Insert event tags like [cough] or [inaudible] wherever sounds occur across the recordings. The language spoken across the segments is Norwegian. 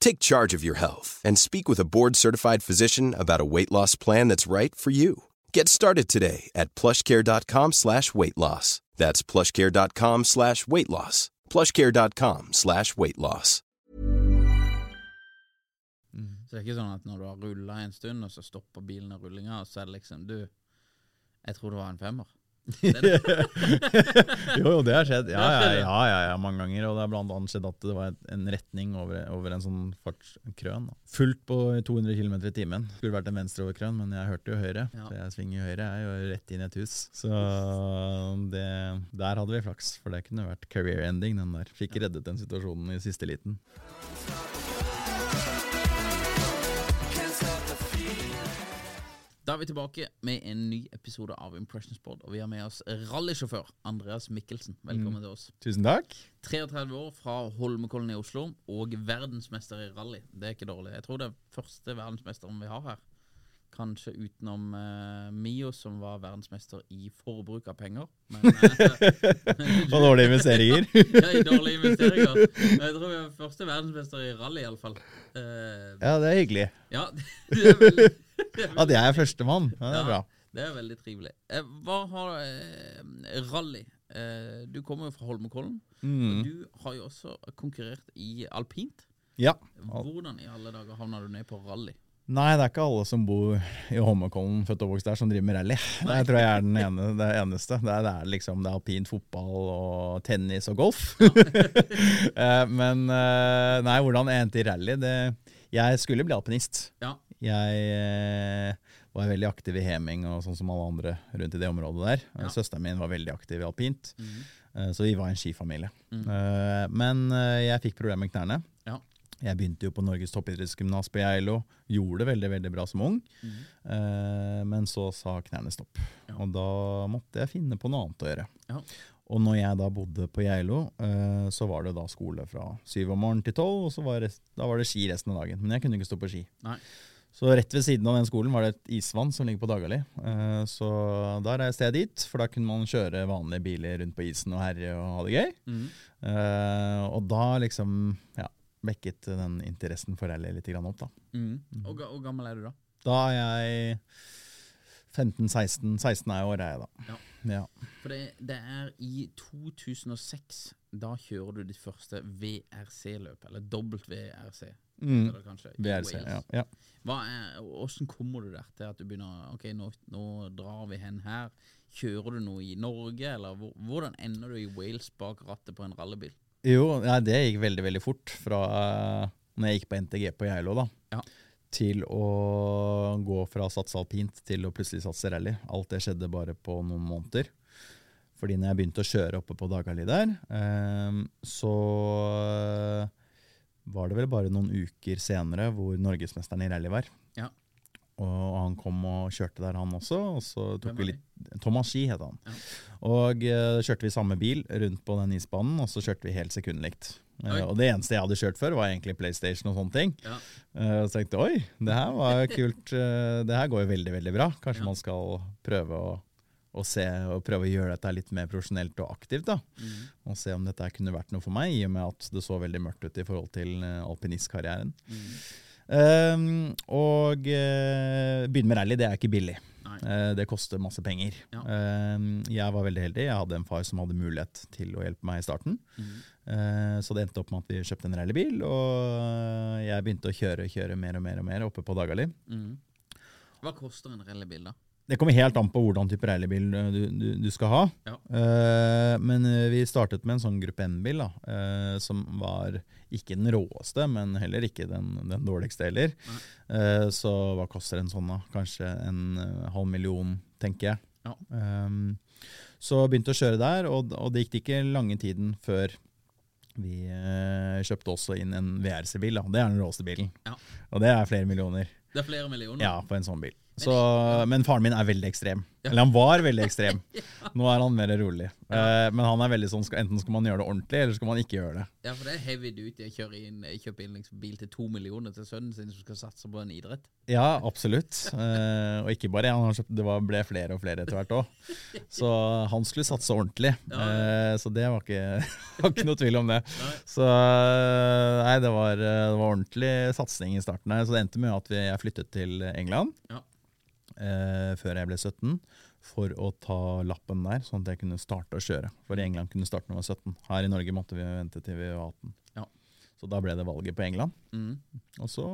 Take charge of your health and speak with a board-certified physician about a weight loss plan that's right for you. Get started today at plushcare.com slash weight loss. That's plushcare.com slash weight loss. plushcare.com slash weight loss. Så det er ikke sånn at når du har rulla en stund, og så stopper bilen av rullinga, og så er det liksom Du, jeg tror det var en femmer. Det er det. [laughs] jo, jo, det har skjedd. Det Ja, har ja, skjedd, ja. ja, ja, ja mange ganger. Og det har blant annet skjedd at det var et- en retning over, over en sånn fartskrøn. da. Fullt på 200 km i timen. Skulle vært en venstreoverkrøn, men jeg hørte jo høyre. Ja. Så jeg svinger jo høyre, jeg er jo rett inn i et hus. Så det, der hadde vi flaks, for det kunne vært career ending, den der. Fikk reddet den situasjonen i siste liten. Da er vi tilbake med en ny episode av Impressions Board, og vi har med oss rallysjåfør Andreas Mikkelsen. Velkommen til oss. Tusen [laughs] takk. 33 år, fra Holmenkollen i Oslo, og verdensmester i rally. Det er ikke dårlig. Jeg tror det er første verdensmesteren vi har her. Kanskje utenom eh, Mio, som var verdensmester i forbruk av penger. Men eh, [laughs] Og dårlige investeringer. [laughs] ja, i dårlige investeringer. Men Jeg tror vi er første verdensmester i rally, iallfall. Uh, ja, det er hyggelig. ja, [laughs] det er veldig, At jeg er førstemann. Ja, det er bra. det er veldig trivelig. Eh, hva har eh, rally? Eh, du kommer jo fra Holmenkollen. og Mm. Du har jo også konkurrert i alpint. Ja. Hvordan i alle dager havna du ned på rally? Nei, det er ikke alle som bor i Holmenkollen, født og oppvokst der, som driver med rally. Det tror jeg er den ene, det eneste. Det er, det er liksom det er alpint fotball og tennis og golf. [laughs] Eh, Men eh, nei, hvordan jeg endte i rally det, Jeg skulle bli alpinist. Ja, Jeg eh, var veldig aktiv i heming og sånn som alle andre rundt i det området der. Eh, Ja. Søsteren min var veldig aktiv i alpint, eh, så vi var en skifamilie. Eh, Men eh, jeg fikk problemer med knærne. ja, Jeg begynte jo på Norges toppidrettsgymnas på Geilo. Gjorde det veldig veldig bra som ung, eh, men så sa knærne stopp. Ja. Og da måtte jeg finne på noe annet å gjøre. ja. Og når jeg da bodde på Geilo, eh, så var det da skole fra syv om morgenen til tolv, og så var rest, da var det ski resten av dagen. Men jeg kunne ikke stå på ski. Nei. Så rett ved siden av den skolen var det et isvann som ligger på Dagali. Eh, Så da reiste jeg dit, for da kunne man kjøre vanlige biler rundt på isen og herje og ha det gøy. Mm. Eh, Og da liksom ja, vekket den interessen for rally litt grann opp, da. Mm. Og, ga- og gammel er du da? Da er jeg 15-16. 16 er jo året jeg, da. Ja. Ja. For det, det er i 2006. Da kjører du ditt første VRC-løp, eller WRC. Mm. Eller kanskje, i VRC. Wales. Ja. ja. Hva er, Hvordan kommer du der til at du begynner Ok, nå, nå drar vi hen her. Kjører du noe i Norge, eller hvor, hvordan ender du i Wales bak rattet på en rallybil? Jo, nei, det gikk veldig, veldig fort fra eh, når jeg gikk på NTG på Geilo, da. Ja. Til å gå fra å satse alpint til å plutselig satse rally. Alt det skjedde bare på noen måneder. Fordi når jeg begynte å kjøre oppe på Dagali der, eh, så var det vel bare noen uker senere hvor norgesmesteren i rally var. Ja. Og han kom og kjørte der, han også. Og så Hvem tok var vi litt Thomas Ski het han. Og eh, kjørte vi samme bil rundt på den isbanen, og så kjørte vi helt sekundlikt. Eh, Oi. og det eneste jeg hadde kjørt før, var egentlig PlayStation og sånne ting. Ja. Eh, og så tenkte [laughs] jeg oi, det her var jo kult. eh, det her går jo veldig, veldig bra. Kanskje Ja. man skal prøve å og, se, og prøve å gjøre dette litt mer profesjonelt og aktivt. da. Mm. Og se om dette kunne vært noe for meg, i og med at det så veldig mørkt ut i forhold til eh, alpinistkarrieren. Ehm, og eh, begynne med rally, det er ikke billig. Nei. Eh, det koster masse penger. Ja. Ehm, jeg var veldig heldig. Jeg hadde en far som hadde mulighet til å hjelpe meg i starten. Mhm. Eh, så det endte opp med at vi kjøpte en rallybil, og jeg begynte å kjøre kjøre mer og mer og mer oppe på Dagali. Hva koster en rallybil, da? Det kommer helt an på hvordan type rallybil eh, du, du, du skal ha. Ja. Eh, men eh, vi startet med en sånn gruppe N-bil, da, eh, som var ikke den råeste, men heller ikke den, den dårligste heller. Eh, så hva koster en sånn, da? Kanskje en eh, halv million, tenker jeg. Ja. Ehm, så begynte å kjøre der, og, og det gikk ikke lange tiden før vi eh, kjøpte også inn en VRC-bil. da. Det er den råeste bilen, Ja. og det er flere millioner. Det er flere millioner. Ja, på en sånn bil. Så, men faren min er veldig ekstrem. Eller han var veldig [laughs] ekstrem. Nå er han mer rolig. Eh, men han er veldig sånn, skal- enten skal man gjøre det ordentlig, eller skal man ikke gjøre det. Ja, for det er heavy duty å kjøre inn kjøpe inn liksom bil til to millioner til sønnen sin som skal satse på en idrett. Ja, absolutt. Eh, og ikke bare jeg, han har kjøpt, det var, ble flere og flere etter hvert òg. [laughs] Så han skulle satse ordentlig. Eh, så det var ikke, [laughs] var ikke noe tvil om det. Så eh, nei, det var, eh, det var ordentlig satsing i starten her. Så det endte med at vi, jeg flyttet til England. Ja. eh, før jeg ble 17, for å ta lappen der, sånn at jeg kunne starte å kjøre. For i England kunne starte når jeg var 17. Her i Norge måtte vi vente til vi var 18. Ja. Så da ble det valget på England. Og så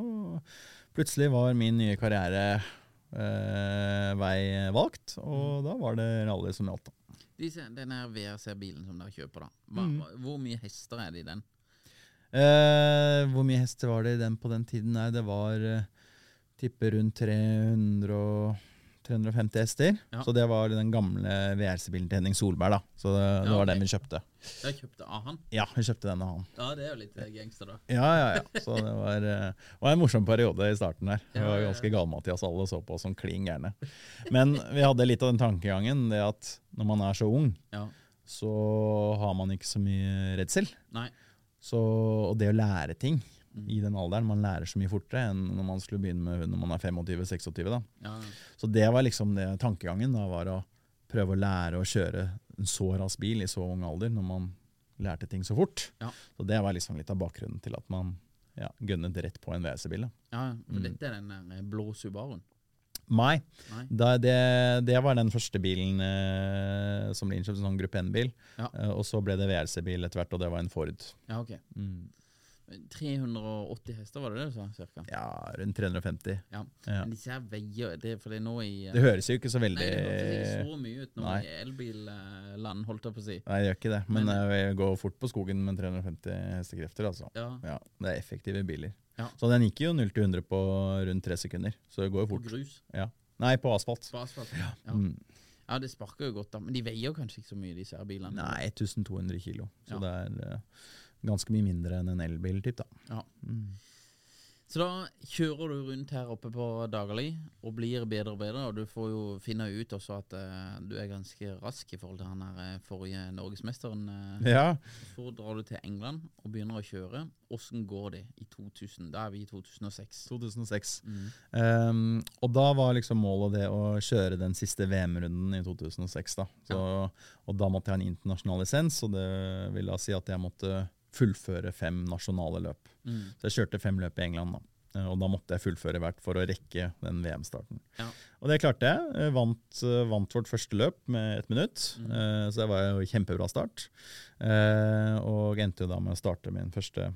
plutselig var min nye karrierevei eh, vei valgt, og da var det rally som gjaldt. da. Disse, den her VRC-bilen som dere kjøper, da. Hva, Hvor mye hester er det i den? Eh, hvor mye hester var det i den på den tiden? Nei, det var eh, tipper rundt 300 og 350 hester. Ja. Så det var den gamle VRC-bilen til Henning Solberg, da. Så det, det Ja, var ok. den vi kjøpte. Dere kjøpte av han? Ja, vi kjøpte den av han. Ja, det er jo litt eh, gangster, da. Ja, ja, ja. [laughs] Så det var, eh, var en morsom periode i starten der. Vi Ja, var ja, ja. ganske gale-Mathias, alle så på oss som klin gærne. Men vi hadde litt av den tankegangen, det at når man er så ung, Ja. så har man ikke så mye redsel. Nei. Så, og det å lære ting i den alderen, man lærer så mye fortere enn når man skulle begynne med når man er 25-26. da. Ja. Så det var liksom det tankegangen, da, var å prøve å lære å kjøre en så rask bil i så ung alder, når man lærte ting så fort. Ja. Så det var liksom litt av bakgrunnen til at man ja, gønnet rett på en WC-bil. da. ja for Mm. Dette er den der eh, blå Subaruen. Nei, Nei. da, det, det var den første bilen eh, som ble innkjøpt, en sånn gruppe N-bil. Ja. Eh, og så ble det WRC-bil etter hvert, og det var en Ford. Ja, ok. Mm. 380 hester, var det det du sa? Cirka? Ja, rundt 350. Ja. Ja. Men disse her veier det, For det er nå i eh, Det høres jo ikke så veldig Nei, det hørtes ikke så mye ut nå Nei. i elbilland, holdt jeg på å si. Nei, det gjør ikke det. Men Men- eh, jeg går fort på skogen med 350 hestekrefter, altså. Ja, Ja, det er effektive biler. Ja. Så den gikk jo 0 til 100 på rundt tre sekunder. Så det går jo På fort. grus. Ja. Nei, på asfalt. På asfalt. Ja. Ja. Mm. det sparker jo godt, da. Men de veier kanskje ikke så mye, disse her bilene. Nei, 1200 kilo. Så Ja. det er eh, ganske mye mindre enn en elbil, typ da. Ja. Mm. Så da kjører du rundt her oppe på Dagali og blir bedre og bedre, og du får jo finne ut også at eh, du er ganske rask i forhold til han her eh, forrige norgesmesteren. eh. Ja. Så drar du til England og begynner å kjøre. Åssen går det i 2000? Da er vi i 2006. 2006. Um, og da var liksom målet det å kjøre den siste VM-runden i 2006. da. Så, Og da måtte jeg ha en internasjonal lisens, og det vil da si at jeg måtte fullføre fem nasjonale løp. Så jeg kjørte fem løp i England, da. Eh, Og da måtte jeg fullføre hvert for å rekke den VM-starten. Ja. Og det klarte jeg. Eh, Vant, eh, vant vårt første løp med ett minutt, Eh, så det var jo kjempebra start. Eh, og endte jo da med å starte min første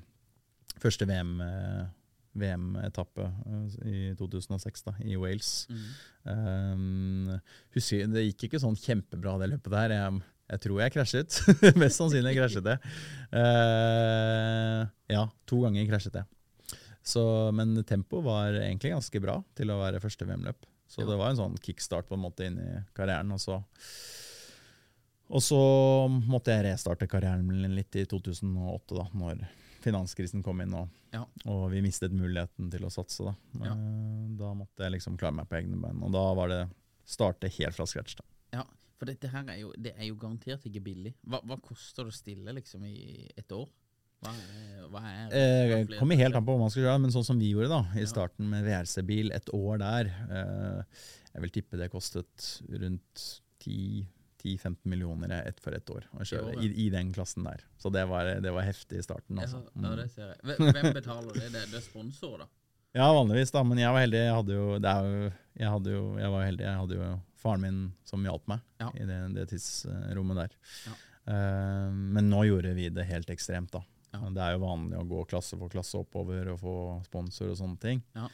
første VM, eh, VM-etappe eh, i 2006 da, i Wales. Um, husker, det gikk ikke sånn kjempebra det løpet der. Jeg, jeg tror jeg krasjet. [laughs] Mest sannsynlig krasjet jeg. Eh, ja, to ganger krasjet jeg. Så, men tempoet var egentlig ganske bra til å være første VM-løp. Så det var en sånn kickstart på en måte inn i karrieren. Og så, og så måtte jeg restarte karrieren min litt i 2008, da når finanskrisen kom inn. og Ja. og vi mistet muligheten til å satse. Da, Ja. Eh, da måtte jeg liksom klare meg på egne bein. Og da var det starte helt fra scratch. Da. Ja, for dette her er jo, det er jo garantert ikke billig. Hva, hva koster det å stille liksom i et år? Hva er, hva er Eh, hva er- kommer helt an på hva man skal gjøre, men sånn som vi gjorde da, i starten med VRC-bil, et år der eh, Jeg vil tippe det kostet rundt 10 10-15 millioner er ett for ett år å kjøre året. i, i den klassen der. Så det var, det var heftig i starten. Ja, Altså. ja, det ser jeg. Hvem- Hvem betaler det? Det det er sponsor, da? Ja, vanligvis, da, men jeg var heldig. Jeg, hadde jo, det er jo, jeg, hadde jo, jeg var heldig. Jeg hadde jo faren min som hjalp meg Ja. i det, det tidsrommet der. Ja. Eh, men nå gjorde vi det helt ekstremt, da. Ja. Det er jo vanlig å gå klasse for klasse oppover og få sponsor og sånne ting. Ja.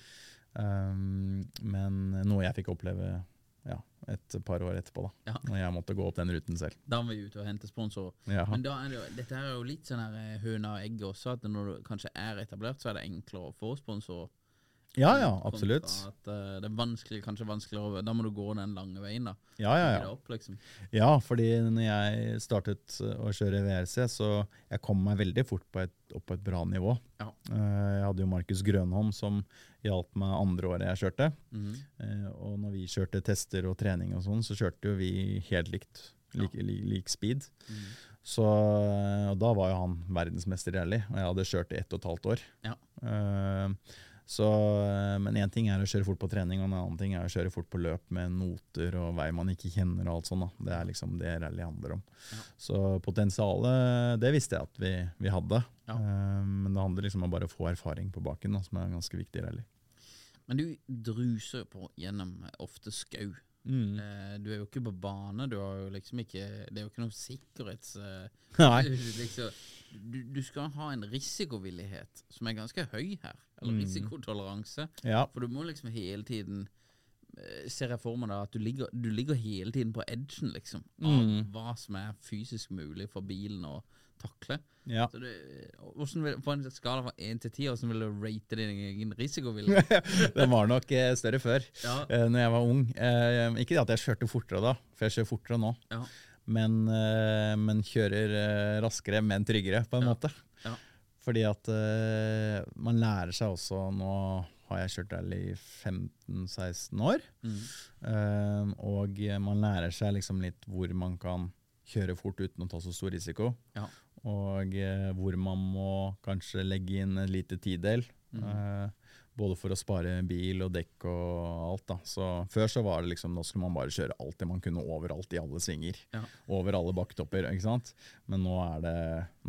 Eh, men noe jeg fikk oppleve ja, et par år etterpå, da. Ja. Når jeg måtte gå opp den ruten selv. Da må vi ut og hente sponsorer. Ja. Men da er det jo, dette her er jo litt sånn her eh, høna og egg også, at når du kanskje er etablert, så er det enklere å få sponsorer. ja, ja, Kontra absolutt. At, eh, det er vanskelig, kanskje vanskeligere, å- da må du gå den lange veien, da. Ja, ja, Gi det ja. Opp, liksom. Ja, fordi når jeg startet eh, å kjøre VRC, så jeg kom meg veldig fort på et, opp på et bra nivå. Ja. Eh, Jeg hadde jo Markus Grønholm som hjalp meg andre året jeg kjørte. Mhm. Eh, Og når vi kjørte tester og trening og sånn, så kjørte jo vi helt likt. Lik, li- lik speed. Mhm. Så, eh, og da var jo han verdensmester i rally, og jeg hadde kjørt i ett og et halvt år. Ja. Eh, Så, eh, men én ting er å kjøre fort på trening, og en annen ting er å kjøre fort på løp med noter og vei man ikke kjenner. og alt sånt. Da. Det er liksom det rally handler om. Ja. Så potensialet, det visste jeg at vi, vi hadde. Ja. Eh, Men det handler liksom om å bare få erfaring på baken, da, som er ganske viktig [laughs] i rally. Men du druser på gjennom eh, ofte skau. Mm. Eh, Du er jo ikke på bane, du har jo liksom ikke Det er jo ikke noe sikkerhets... eh, Nei. [laughs] liksom, du, du skal ha en risikovillighet som er ganske høy her. Eller Mhm. risikotoleranse. Ja. For du må liksom hele tiden eh, Ser jeg for meg da at du ligger, du ligger hele tiden på edgen, liksom. Av Mm. hva som er fysisk mulig for bilen å takle. ja. Så det, hvordan vil, på en skala fra 1 til 10, hvordan vil du rate din egen [laughs] risikovilje? Den var nok eh, større før, Ja. eh, når jeg var ung. Eh, ikke det at jeg kjørte fortere da, for jeg kjører fortere nå. Ja. Men, eh, men kjører eh, raskere, men tryggere, på en Ja. måte. Ja. Fordi at eh, man lærer seg også Nå har jeg kjørt rally i 15-16 år. Mm. eh, og man lærer seg liksom litt hvor man kan kjøre fort uten å ta så stor risiko. Ja. Og eh, hvor man må kanskje legge inn et lite tidel. Mm. Eh, både for å spare bil og dekk og alt. da. Så Før så var det liksom, nå skulle man bare kjøre alt det man kunne overalt i alle svinger. Ja. Over alle bakketopper. ikke sant? Men nå, er det,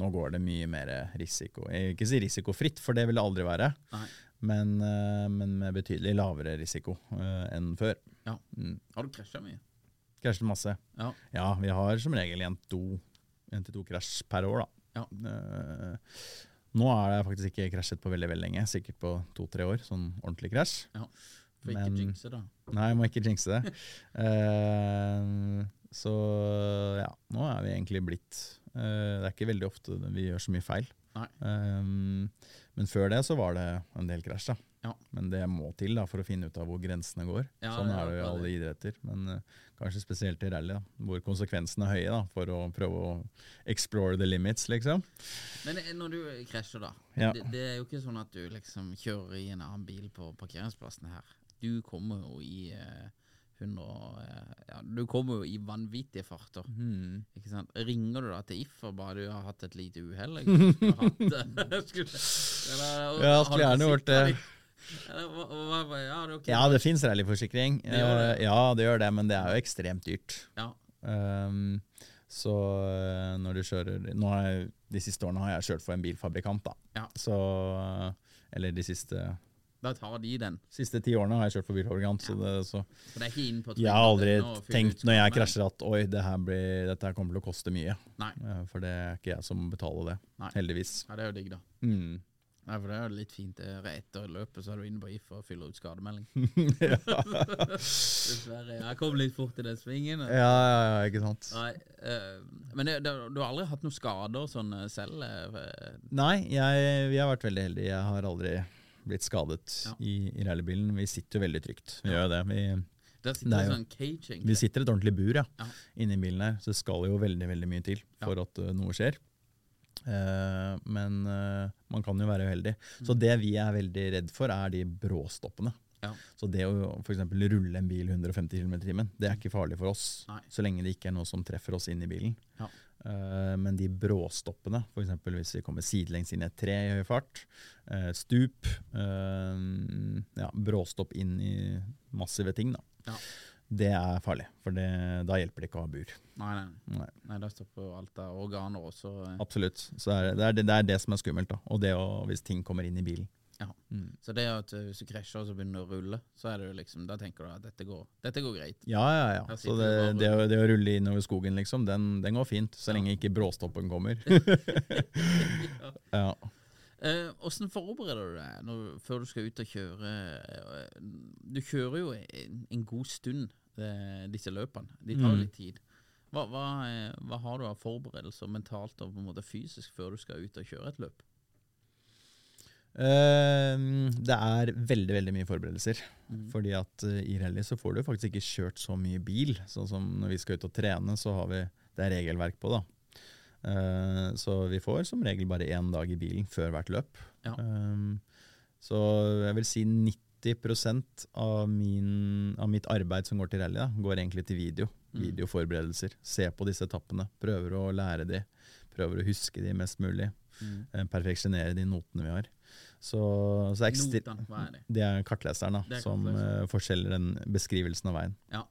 nå går det mye mer risiko. Jeg vil ikke si risikofritt, for det vil det aldri være. Nei. Men, eh, men med betydelig lavere risiko eh, enn før. Ja. Mm. Har du krasja mye? Krasjet masse. Ja. Ja, vi har som regel en to- en til to krasj per år, da. Ja. Eh, nå er jeg faktisk ikke krasjet på veldig veldig lenge, sikkert på to-tre år, sånn ordentlig krasj. For ikke Men- jinxe, da. Nei, jeg må ikke [laughs] jinxe det. Eh, så ja, nå er vi egentlig blitt eh, Det er ikke veldig ofte vi gjør så mye feil. Nei. Eh, men før det så var det en del krasj, da. Ja. Men det må til da, for å finne ut av hvor grensene går. Ja, sånn det er er det jo i akkurat alle idretter, men eh, kanskje spesielt i rally, da, hvor konsekvensene er høye da, for å prøve å explore the limits, liksom. Men eh, når du krasjer, da. Ja. Det, det er jo ikke sånn at du liksom kjører i en annen bil på parkeringsplassen her. Du kommer jo i eh, 100 og, eh, ja, Du kommer jo i vanvittige farter. Hmm. Ikke sant? Ringer du da til If og bare du har hatt et lite uhell? ikke sant? Du har hatt [laughs] det. [laughs] Skulle- eller- eh, Ja, har skulle du gjerne gjort sikret det. deg? Eller hva- hva- hva- Ja, det er ok. Ja, det fins rallyforsikring. Det gjør det. Eh, Ja, det gjør det, men det er jo ekstremt dyrt. Ja, Um, så eh, når du kjører nå har jeg, De siste årene har jeg kjørt for en bilfabrikant, da. Ja. Så, eh, eller de siste, Da tar de den. siste ti årene har jeg kjørt for bilfabrikant. Så det, så. For det er ikke inn på Jeg har aldri trygden å fylle tenkt ut når jeg skammen. krasjer at oi, det her blir, dette her kommer til å koste mye. Nei. Eh, For det er ikke jeg som betaler det, Nei. heldigvis. Ja, det er jo digg, da. Mm. Nei, for det er jo litt fint. det er Etter løpet så er du inne på IF og fyller ut [laughs] skademelding. Dessverre. Jeg kom litt fort i den svingen. Ja, ja, ja, ikke sant. Nei, eh, men det, det, du har aldri hatt noen skader sånn eh, selv? eh, Nei, jeg, vi har vært veldig heldige. Jeg har aldri blitt skadet Ja. i, i rallybilen. Vi sitter jo veldig trygt. Vi gjør jo det. Vi, Der Det er sitter det jo- sånn caging. Vi sitter i et ordentlig bur ja, Ja. inni bilen her, så det skal jo veldig veldig mye til for at ø, noe skjer. Eh, men ø, man kan jo være uheldig. Mm. Så det vi er veldig redd for, er de bråstoppene. Ja. Så det å for eksempel rulle en bil 150 km i timen, det er ikke farlig for oss. Mm. Nei. Så lenge det ikke er noe som treffer oss inn i bilen. Ja. Eh, men de bråstoppene, f.eks. hvis vi kommer sidelengs inn i et tre i høy fart, eh, stup eh, ja, Bråstopp inn i massive ting, da. Det er farlig, for det, da hjelper det ikke å ha bur. Nei, nei. Nei. nei da stopper jo alt av organer også. eh. Absolutt. Så det er det, er, det- det er det som er skummelt, da. Og det å, hvis ting kommer inn i bilen. mm. Så det er jo at eh, hvis du krasjer og så begynner du å rulle, så er det jo liksom, da tenker du at dette går, dette går greit. Ja, ja, ja. Her Så sitter det, du bare- det, å, det å rulle innover skogen, liksom, den, den går fint. Så lenge ikke bråstoppen kommer. ja. Eh, Hvordan forbereder du deg når, før du skal ut og kjøre? eh, Du kjører jo en, en god stund eh, disse løpene. De tar jo Mm. litt tid. Hva, hva, eh, hva har du av forberedelser mentalt og på en måte fysisk før du skal ut og kjøre et løp? Eh, det er veldig, veldig mye forberedelser. Mhm. Fordi at eh, i rally så får du faktisk ikke kjørt så mye bil. Sånn som når vi skal ut og trene, så har vi det er regelverk på, da. Eh, så vi får som regel bare én dag i bilen før hvert løp. Ja. Eh, så jeg vil si 90 av, min, av mitt arbeid som går til rally, da, går egentlig til video. Mm. Videoforberedelser. Se på disse etappene. Prøver å lære de. Prøver å huske de mest mulig. Mm. Eh, perfeksjonere de notene vi har. Så, så er ekster- Notene, hva er det? det er kartleseren da, Det er som kartleseren. eh, forskjeller den beskrivelsen av veien. Ja.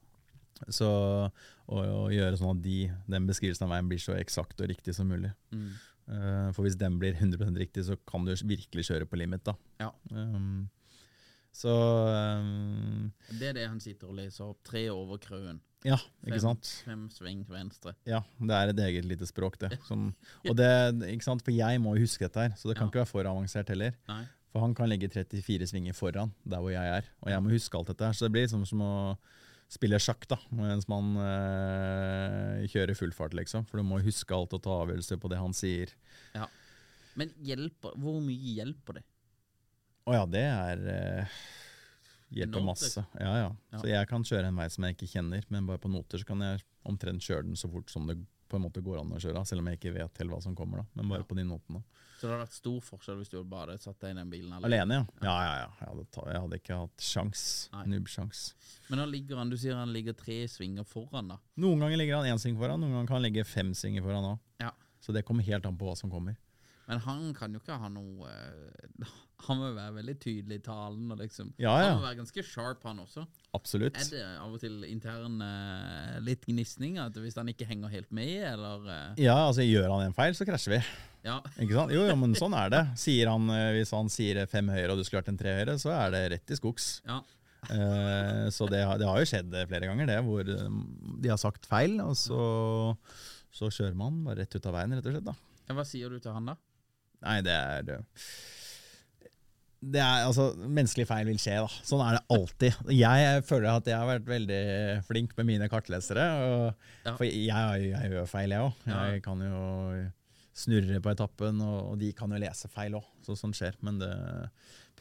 Så å, å gjøre sånn at de, den beskrivelsen av veien blir så eksakt og riktig som mulig. Mm. Eh, for hvis den blir 100 riktig, så kan du virkelig kjøre på limit. da. Ja. Um, så um, Det er det han sitter og leser opp. Tre over krøen. Ja, Fem. ikke sant? Fem sving til venstre. Ja, Det er et eget lite språk, det. [laughs] Som, og det ikke sant? For jeg må jo huske dette her, så det kan Ja. ikke være for avansert heller. Nei. For han kan legge 34 svinger foran der hvor jeg er, og jeg må huske alt dette her. Så det blir liksom som å spille sjakk da, mens man eh, kjører full fart, liksom. For du må huske alt og ta avgjørelser på det han sier. Men hjelper, hvor mye hjelper det? Å ja, det er eh, Hjelper Noter. masse. Ja, ja. Ja. Så jeg kan kjøre en vei som jeg ikke kjenner, men bare på noter så kan jeg omtrent kjøre den så fort som det på en måte går an å kjøre, selv om jeg ikke vet helt hva som kommer, da. Men bare Ja. på de notene. Så det hadde vært stor forskjell hvis du bare satt deg i den bilen alene. Alene, ja. Ja, ja, ja. Jeg hadde, ta, jeg hadde ikke hatt sjans. Nei. Nubbsjans. Men da ligger han, du sier han ligger tre svinger foran, da. Noen ganger ligger han én sving foran, noen ganger kan han ligge fem svinger foran òg. Ja. Så det kommer helt an på hva som kommer. Men han kan jo ikke ha noe eh, [laughs] Han må jo være veldig tydelig i talen. Og liksom. Ja, Han må ja, være ganske sharp, han også. absolutt. Er det av og til intern eh, litt gnisning at hvis han ikke henger helt med, eller eh, Ja, altså Gjør han en feil, så krasjer vi. Ja. Ikke sant? Jo, jo, men sånn er det. Sier han, eh, Hvis han sier fem høyre og du skulle vært en tre høyre, så er det rett i skogs. ja. Eh, så det, har- det har jo skjedd flere ganger, det, hvor eh, de har sagt feil, og så, så kjører man bare rett ut av veien, rett og slett. da. Ja, Hva sier du til han, da? Nei, det er det. Det er, altså, Menneskelige feil vil skje, da. Sånn er det alltid. Jeg føler at jeg har vært veldig flink med mine kartlesere. Og, Ja. For jeg, jeg gjør feil, jeg òg. Ja. Jeg kan jo snurre på etappen, og, og de kan jo lese feil òg. Så sånt skjer. Men det,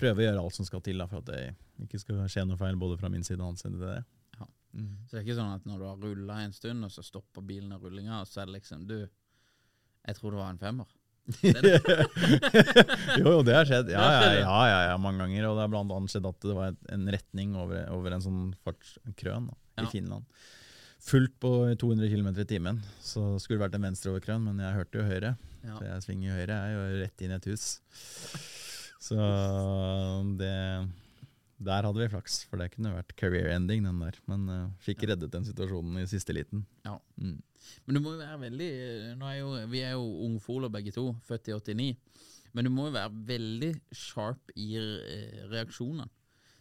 prøver å gjøre alt som skal til da, for at det ikke skal skje noe feil både fra min side og hans side. Det. Ja. Mm. Så det er ikke sånn at når du har rulla en stund, og så stopper bilen av rullinga, og så er det liksom Du, jeg tror det var en femmer. Det er det. Jo, jo, det har skjedd. Ja, Det har ja, skjedd, ja. ja, ja, ja mange ganger. Og det har blant annet skjedd at det var et- en retning over, over en sånn fartskrøn da, Ja. i Finland. Fullt på 200 km i timen. Så skulle det vært en venstreoverkrøn, men jeg hørte jo høyre. Ja. Så jeg svinger jo høyre, jeg er jo rett inn i et hus. Så det Der hadde vi flaks, for det kunne vært career ending, den der. Men eh, fikk reddet den situasjonen i siste liten. Ja. Mm. Men du må jo være veldig nå er jo, Vi er jo ungfoler begge to, født i 89. Men du må jo være veldig sharp i eh, reaksjonene.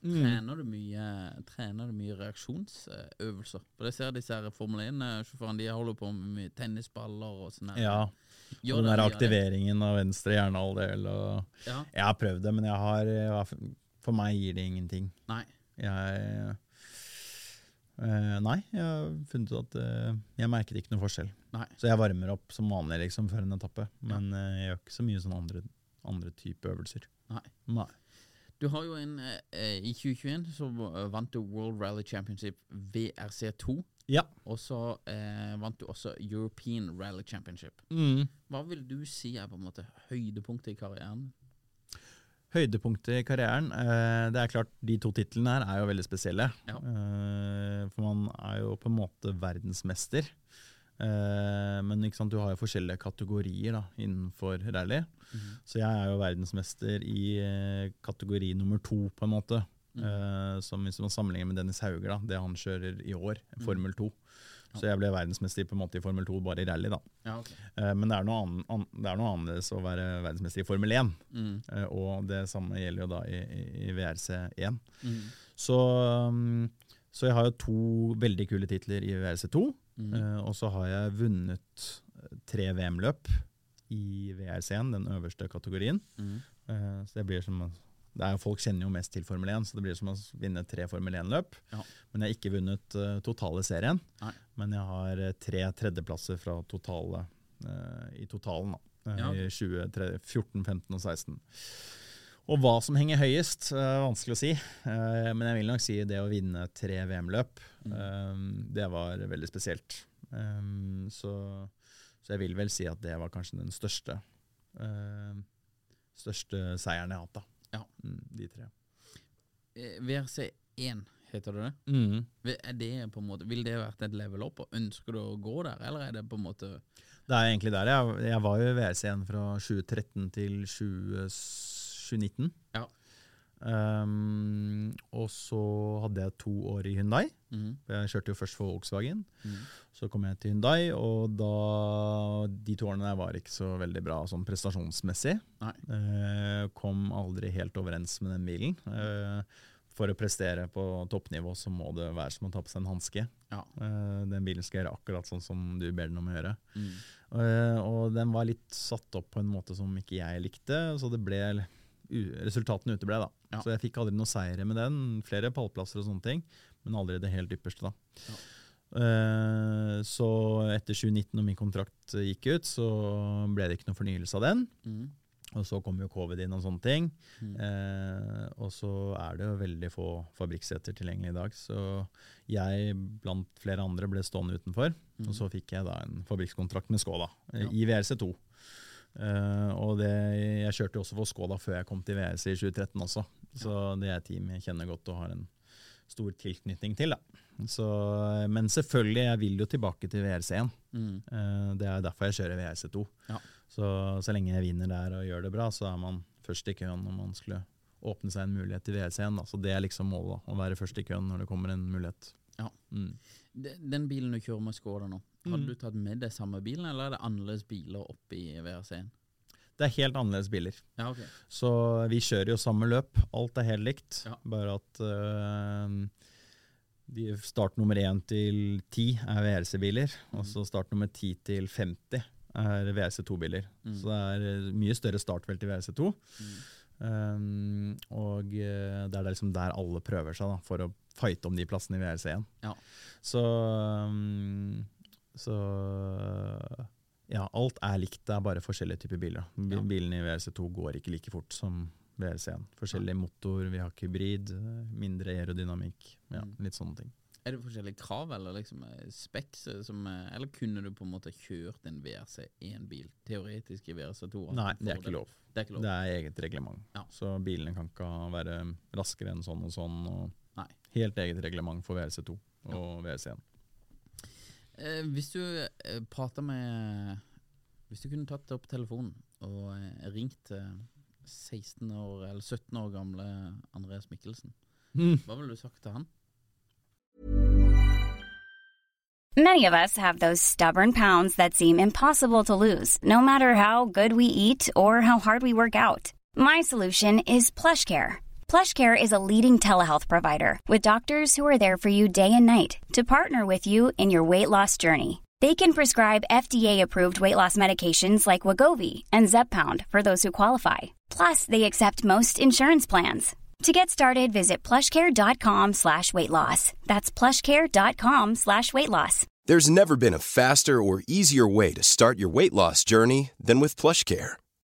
Mm. Trener, du mye, trener du mye reaksjonsøvelser? For jeg ser disse her Formel 1-sjåførene de holder på med mye tennisballer og sånn. her. Ja, Gjør dere og den der mye av det? aktiveringen av venstre hjernehalvdel og Ja, Jeg har prøvd det, men jeg har, jeg har- for meg gir det ingenting. nei. Jeg eh, Nei, jeg har funnet ut at eh, jeg merket ikke noe forskjell. Nei. Så jeg varmer opp som vanlig liksom, før en etappe, men eh, jeg gjør ikke så mye sånn andre, andre type øvelser. Nei. Nei. Du har jo en eh, eh, I 2021 så eh, vant du World Rally Championship VRC2. Ja. Og så eh, vant du også European Rally Championship. Mm. Hva vil du si er på en måte høydepunktet i karrieren? Høydepunktet i karrieren eh, Det er klart, de to titlene her er jo veldig spesielle. Ja. Eh, for man er jo på en måte verdensmester. Eh, men ikke sant, du har jo forskjellige kategorier da, innenfor rally. Så jeg er jo verdensmester i eh, kategori nummer to, på en måte. Eh, som Hvis man sammenligner med Dennis Hauger, da, det han kjører i år, Formel 2. Så jeg ble verdensmester på en måte i Formel 2, bare i rally. da. Ja, ok. Eh, Men det er, noe annen, an, det er noe annerledes å være verdensmester i Formel 1. Eh, Og det samme gjelder jo da i, i, i VRC1. Så, um, så jeg har jo to veldig kule titler i VRC2. eh, Og så har jeg vunnet eh, tre VM-løp i VRC1, den øverste kategorien. Eh, Så det blir som å- det er, jo- Folk kjenner jo mest til Formel 1, så det blir som å s- vinne tre Formel 1-løp. Ja. Men jeg har ikke vunnet eh, totale serien. Nei. Men jeg har eh, tre tredjeplasser fra totale, eh, i totalen. da. Eh, Ja. I 20, 13, 14, 15 og 16. Og hva som henger høyest, eh, er vanskelig å si. Eh, men jeg vil nok si det å vinne tre VM-løp, Mm. eh, det var veldig spesielt. Eh, så, så jeg vil vel si at det var kanskje den største, eh, største seieren jeg har hatt. da. Ja. Mm, de tre. Eh, VRC1, heter det det? Vil- Er det på en måte, Vil det vært et level up? og Ønsker du å gå der, eller er det på en måte Det er egentlig der. Jeg, jeg var jo i VRC1 fra 2013 til 20, 2019. Ja. Ehm, og så hadde jeg to år i Hyundai. Mhm. Jeg kjørte jo først for Volkswagen. Mhm. Så kom jeg til Hyundai, og da, de to årene der var ikke så veldig bra sånn prestasjonsmessig. Nei. Eh, kom aldri helt overens med den bilen. Eh, for å prestere på toppnivå så må det være som å ta på seg en hanske. Ja. Eh, den bilen skal gjøre akkurat sånn som du ber den om å gjøre. Mm. Eh, og den var litt satt opp på en måte som ikke jeg likte, så det ble u- resultatene uteble. da. Ja. Så jeg fikk aldri noen seire med den, flere pallplasser og sånne ting, men aldri det helt ypperste. da. Eh, så etter 2019, når min kontrakt eh, gikk ut, så ble det ikke noen fornyelse av den. Mm. Og så kom jo covid inn og sånne ting. Mm. Eh, og så er det jo veldig få fabrikkseter tilgjengelig i dag. Så jeg, blant flere andre, ble stående utenfor. Og så fikk jeg da en fabrikkskontrakt med Skoda Mm. eh, Ja. i VRC2. Eh, og det, jeg kjørte jo også for Skoda før jeg kom til VRC i 2013 også. Så det er et team jeg kjenner godt og har en stor tilknytning til. Da. Så, eh, men selvfølgelig, jeg vil jo tilbake til VRC1. Mm. Eh, Det er derfor jeg kjører VRC2. Ja. Så, så lenge jeg vinner der og gjør det bra, så er man først i køen når man skulle åpne seg en mulighet til VRC1. Da. Så det er liksom målet, da, å være først i køen når det kommer en mulighet. Ja. Mm. De- Den bilen du kjører med Skoda nå, hadde Mhm. du tatt med deg samme bilen, eller er det annerledes biler oppe i VRC1? Det er helt annerledes biler. Ja, ok. Så vi kjører jo samme løp. Alt er helt likt, Ja. bare at øh, de- start nummer 1 til 10 er VRC-biler, Mm. og så start nummer 10 til 50 er VRC2-biler. Mm. Så det er øh, mye større startfelt i VRC2. Um, og øh, det er der liksom der alle prøver seg da, for å fighte om de plassene i VRC1. Ja. Så, um, så ja, alt er likt, det er bare forskjellige typer biler. da. Bi- Ja. Bilene i VRC2 går ikke like fort som VRC1. Forskjellig motor, vi har ikke hybrid, eh, mindre aerodynamikk, ja, Mm. litt sånne ting. Er det forskjellige krav eller liksom eh, speks eh, som eh, Eller kunne du på en måte kjørt en VRC1-bil teoretisk i VRC2? at Nei, du det er får ikke lov. Det er ikke lov. Det er eget reglement. Ja. Så bilene kan ikke være raskere enn sånn og sånn. Og Nei. Helt eget reglement for VRC2 og E VRC1. Eh, hvis du eh, prater med Hvis du kunne tatt opp telefonen og eh, ringt eh, 16 år eller 17 år gamle Andreas Mikkelsen, Mm. hva ville du sagt til han? Many of us have those stubborn pounds that seem impossible to lose, no matter how good we eat or how hard we work out. My solution is PlushCare. PlushCare is a leading telehealth provider with doctors who are there for you day and night to partner with you in your weight loss journey. They can prescribe FDA-approved weight loss medications like Wagovi and Zepbound for those who qualify. Plus, they accept most insurance plans. To get started, visit plushcare.com slash weight loss. That's plushcare.com slash weight loss. There's never been a faster or easier way to start your weight loss journey than with PlushCare.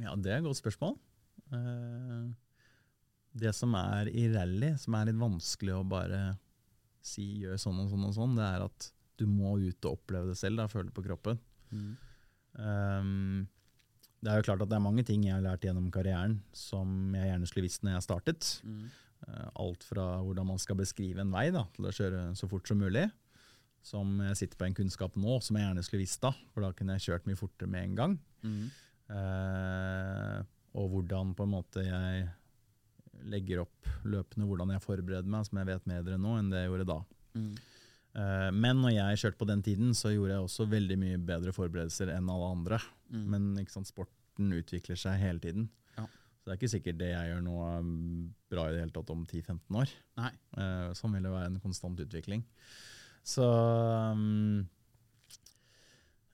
ja, det er et godt spørsmål. Eh, Ehm, det som er i rally, som er litt vanskelig å bare si gjør sånn og sånn, og sånn, det er at du må ut og oppleve det selv, da, føle det på kroppen. Mm. Ehm, det er jo klart at det er mange ting jeg har lært gjennom karrieren som jeg gjerne skulle visst når jeg startet. Mm. Eh, Alt fra hvordan man skal beskrive en vei da, til å kjøre så fort som mulig. Som jeg sitter på en kunnskap nå som jeg gjerne skulle visst da, for da kunne jeg kjørt mye fortere med en gang. Mm. Eh, og hvordan på en måte jeg legger opp løpene, hvordan jeg forbereder meg, som jeg vet bedre nå enn det jeg gjorde da. Mm. Eh, men når jeg kjørte på den tiden, så gjorde jeg også veldig mye bedre forberedelser enn alle andre. Mm. Men ikke sant, sporten utvikler seg hele tiden. Ja. Så det er ikke sikkert det jeg gjør nå er bra i det hele tatt om 10-15 år. Nei. Eh, sånn vil det være en konstant utvikling. Så um,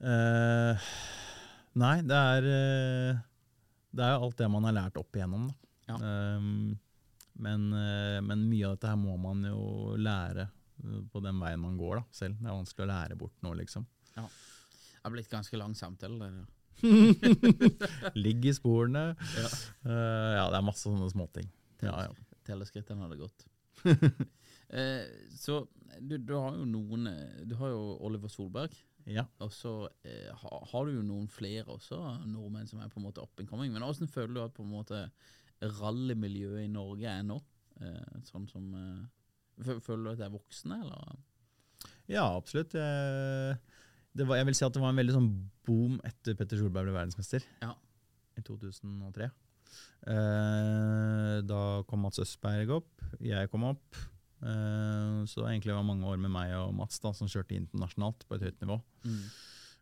eh, Nei, det er eh, Det er jo alt det man har lært opp igjennom, da. Ja. Um, men, eh, men mye av dette her må man jo lære eh, på den veien man går da, selv. Det er vanskelig å lære bort nå, liksom. Det har blitt ganske lang samtale. det der. Ligg i sporene. Ja. Eh, ja, det er masse sånne småting. Ja, ja. Telleskrittene hadde [laughs] gått. eh, så du, du har jo noen eh, Du har jo Oliver Solberg, ja. og så eh, ha, har du jo noen flere også, nordmenn som er på en måte up and coming. Men hvordan føler du at på en måte rallymiljøet i Norge er nå? Eh, sånn som eh, fø- Føler du at det er voksne, eller? Ja, absolutt. Eh, Det var, jeg vil si at det var en veldig sånn boom etter Petter Solberg ble verdensmester Ja. i 2003. Eh, da kom Mats Østberg opp, jeg kom opp. Eh, så egentlig var det mange år med meg og Mats da, som kjørte internasjonalt på et høyt nivå. Mm.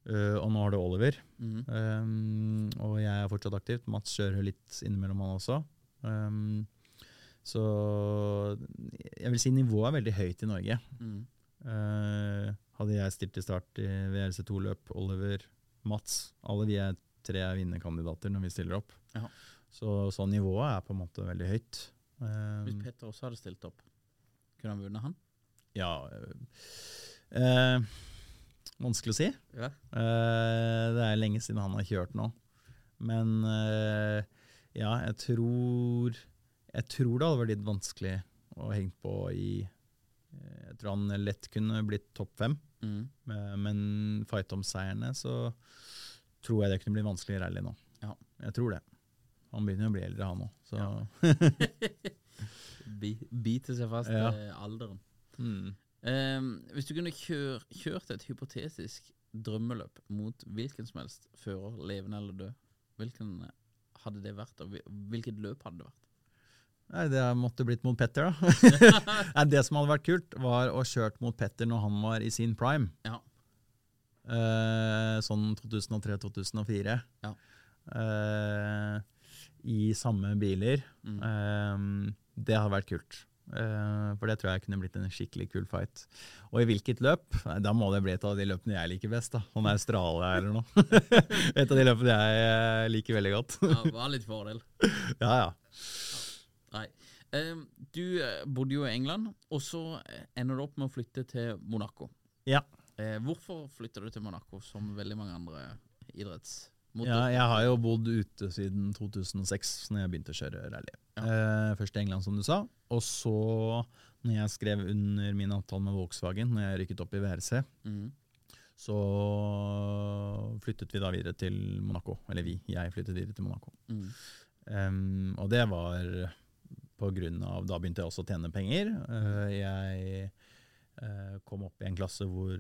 Eh, og nå har du Oliver, Mm. Um, og jeg er fortsatt aktivt. Mats kjører litt innimellom, han også. Um, så jeg vil si nivået er veldig høyt i Norge. Mm. Eh, hadde jeg stilt til start i VRC2-løp, Oliver, Mats Alle vi er tre er vinnerkandidater når vi stiller opp. Ja. Så, så nivået er på en måte veldig høyt. Eh, Hvis Petter også hadde stilt opp, kunne han vunnet han? ja eh, eh, Vanskelig å si. Ja. Eh, det er lenge siden han har kjørt nå. Men eh, ja, jeg tror Jeg tror det hadde vært litt vanskelig å henge på i eh, Jeg tror han lett kunne blitt topp fem, Mm. eh, men fight om seierne, så tror jeg det kunne bli vanskelig i rally nå. Ja. Jeg tror det. Han begynner jo å bli eldre, han òg, så Bi, bite seg fast Ja. eh, alderen. mm. Ehm, hvis du kunne kjør, kjørt et hypotetisk drømmeløp mot hvilken som helst fører, levende eller død, hvilken hadde det vært, og hvil- hvilket løp hadde det vært? Nei, det måtte blitt mot Petter, da. [laughs] Nei, det som hadde vært kult, var å kjørt mot Petter når han var i sin prime. Ja. Eh, sånn 2003-2004. Ja. Eh, I samme biler. Mm. Eh, det hadde vært kult. Eh, for det tror jeg kunne blitt en skikkelig kul fight. Og i hvilket løp? Nei, da må det bli et av de løpene jeg liker best. da. Sånn Australia eller noe. [laughs] et av de løpene jeg eh, liker veldig godt. Ja, det var litt fordel. [laughs] ja, ja. Nei. Ehm, du eh, bodde jo i England, og så eh, ender du opp med å flytte til Monaco. Ja. Eh, hvorfor flytter du til Monaco, som veldig mange andre idretts... Ja, jeg har jo bodd ute siden 2006, når jeg begynte å kjøre rally. Eh, først i England, som du sa. Og så, når jeg skrev under min avtale med Volkswagen, når jeg rykket opp i VRC, Mm. så flyttet vi da videre til Monaco. Eller vi, jeg flyttet videre til Monaco. Mm. Em, og det var på grunn av Da begynte jeg også å tjene penger. Eh, jeg eh, kom opp i en klasse hvor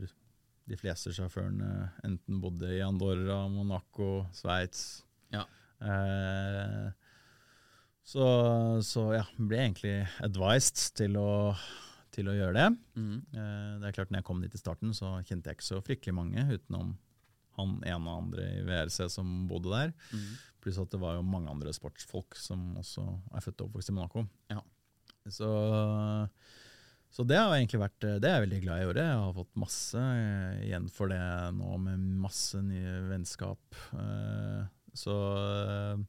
de fleste sjåførene enten bodde i Andorra, Monaco, Sveits. Ja. Eh, så, så ja, ble jeg egentlig advised til å, til å gjøre det. Mm. Eh, Det er klart, når jeg kom dit i starten, så kjente jeg ikke så fryktelig mange, utenom han ene og andre i VRC som bodde der. Mm. Pluss at det var jo mange andre sportsfolk som også er født og oppvokst i Monaco. Ja. Så, så det har egentlig vært Det er jeg veldig glad i å gjøre. Jeg har fått masse eh, igjen for det nå, med masse nye vennskap. Eh, Så eh,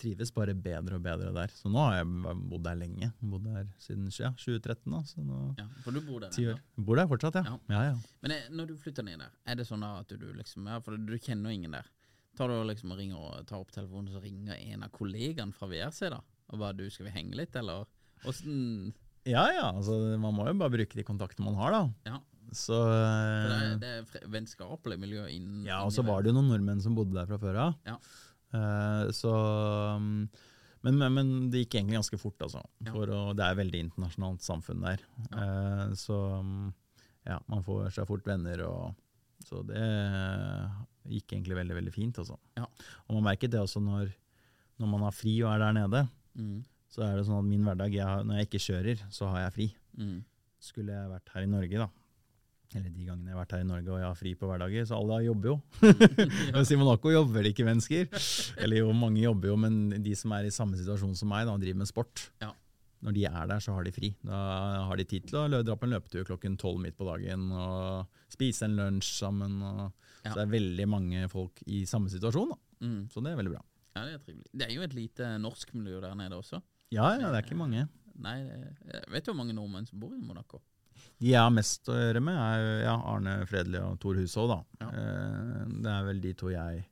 trives bare bedre og bedre der. Så nå har jeg bodd der lenge. Bodd der siden ja, 2013, da. Så nå Ja, for du bor der Ti ennå. år. Bor der fortsatt, ja. Ja. ja, ja. Men eh, når du flytter ned der, er det sånn da at du liksom ja, For du kjenner jo ingen der. Tar du og liksom ringer og tar opp telefonen, så ringer en av kollegaene fra VRC, da? Og bare du, skal vi henge litt, eller? Åssen Ja ja, altså, man må jo bare bruke de kontaktene man har, da. Ja. Så For det, eh, er, det er fre- vennskapelig miljø innen Ja, og så var det jo noen nordmenn som bodde der fra før av. Ja. Eh, så um, men, men, men det gikk egentlig ganske fort, altså. Ja. For å, det er veldig internasjonalt samfunn der. Eh, så um, ja, man får seg fort venner og Så det gikk egentlig veldig, veldig fint, altså. Ja. Og man merket det også når, når man har fri og er der nede. Mm, Så er det sånn at min hverdag, jeg, når jeg ikke kjører, så har jeg fri. mm, Skulle jeg vært her i Norge, da. Eller de gangene jeg har vært her i Norge og jeg har fri på hverdager, så alle [laughs] jobber jo. Mens i Monaco jobber det ikke mennesker. Eller jo, mange jobber jo, men de som er i samme situasjon som meg, da, og driver med sport, Ja. når de er der, så har de fri. Da har de tid til å lø- dra på en løpetur klokken tolv midt på dagen og spise en lunsj sammen. Og, Ja. Så det er veldig mange folk i samme situasjon, da. mm. så det er veldig bra. Ja, det er trivelig. Det er jo et lite norsk miljø der nede også. Ja, ja, det er ikke mange. Nei, det- jeg vet du hvor mange nordmenn som bor i Monaco? De jeg har mest å gjøre med, er ja, Arne Fredli og Tor Hushov. Da. Ja. Eh, Det er vel de to jeg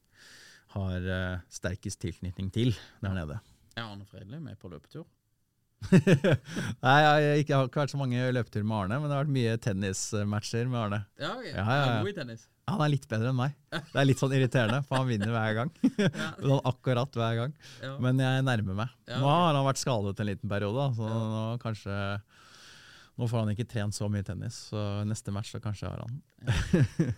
har eh, sterkest tilknytning til der nede. [laughs] Er Arne Fredelig med på løpetur? Nei, jeg, har ikke- jeg har ikke vært så mange løpeturer med Arne, men det har vært mye tennismatcher med Arne. Ja, ok. ja, Han ja. er god i [laughs] tennis. [laughs] Han er litt bedre enn meg. Det er litt sånn irriterende, for han vinner hver gang. [laughs] Sånn akkurat hver gang. Ja. Men jeg nærmer meg. Ja, Nå har han vært skadet en liten periode, da, så nå kanskje Nå får han ikke trent så mye tennis, så neste match så kanskje jeg har han.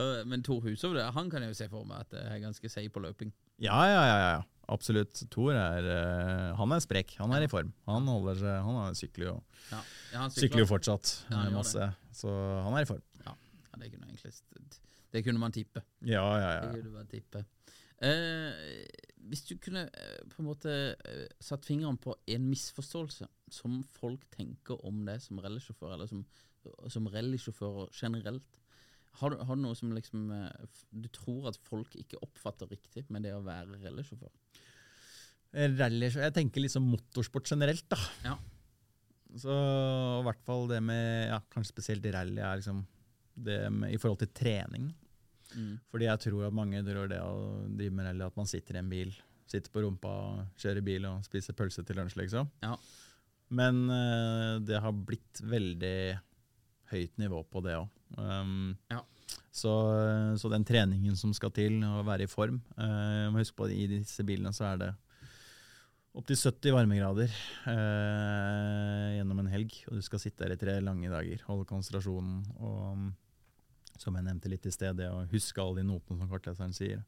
Øh, Men Tor Hushov, det- han kan jeg jo se for meg at jeg er ganske seig på løping. Ja, ja, ja. ja. ja. Absolutt. Tor er, eh, han er sprek. Han er i form. Han, holder seg, han har- sykler jo Ja, ja, han Sykler jo fortsatt Ja, han eh, gjør masse, så han er i form. Ja, det kunne jeg egentlig st- Det kunne man tippe. Ja, ja, Det ja. kunne man tippe. Eh, hvis du kunne eh, på en måte eh, satt fingeren på en misforståelse som folk tenker om deg som rallysjåfør, eller som, som rallysjåfører generelt har du, har du noe som liksom eh, f- du tror at folk ikke oppfatter riktig med det å være rallysjåfør? Rally, jeg tenker liksom motorsport generelt, da. Ja. Så i hvert fall det med ja, Kanskje spesielt rally er liksom det med, i forhold til trening. Mm. Fordi jeg tror at mange tror det å drive med rally at man sitter i en bil, sitter på rumpa, kjører bil og spiser pølse til lunsj, liksom. Ja. Men eh, det har blitt veldig høyt nivå på det òg. Um, Ja. så, eh, så den treningen som skal til, å være i form eh, Jeg må huske på at i disse bilene så er det opptil 70 varmegrader eh, gjennom en helg, og du skal sitte der i tre lange dager, holde konsentrasjonen og um, som jeg nevnte litt i sted, det å huske alle de notene som kartleseren sier.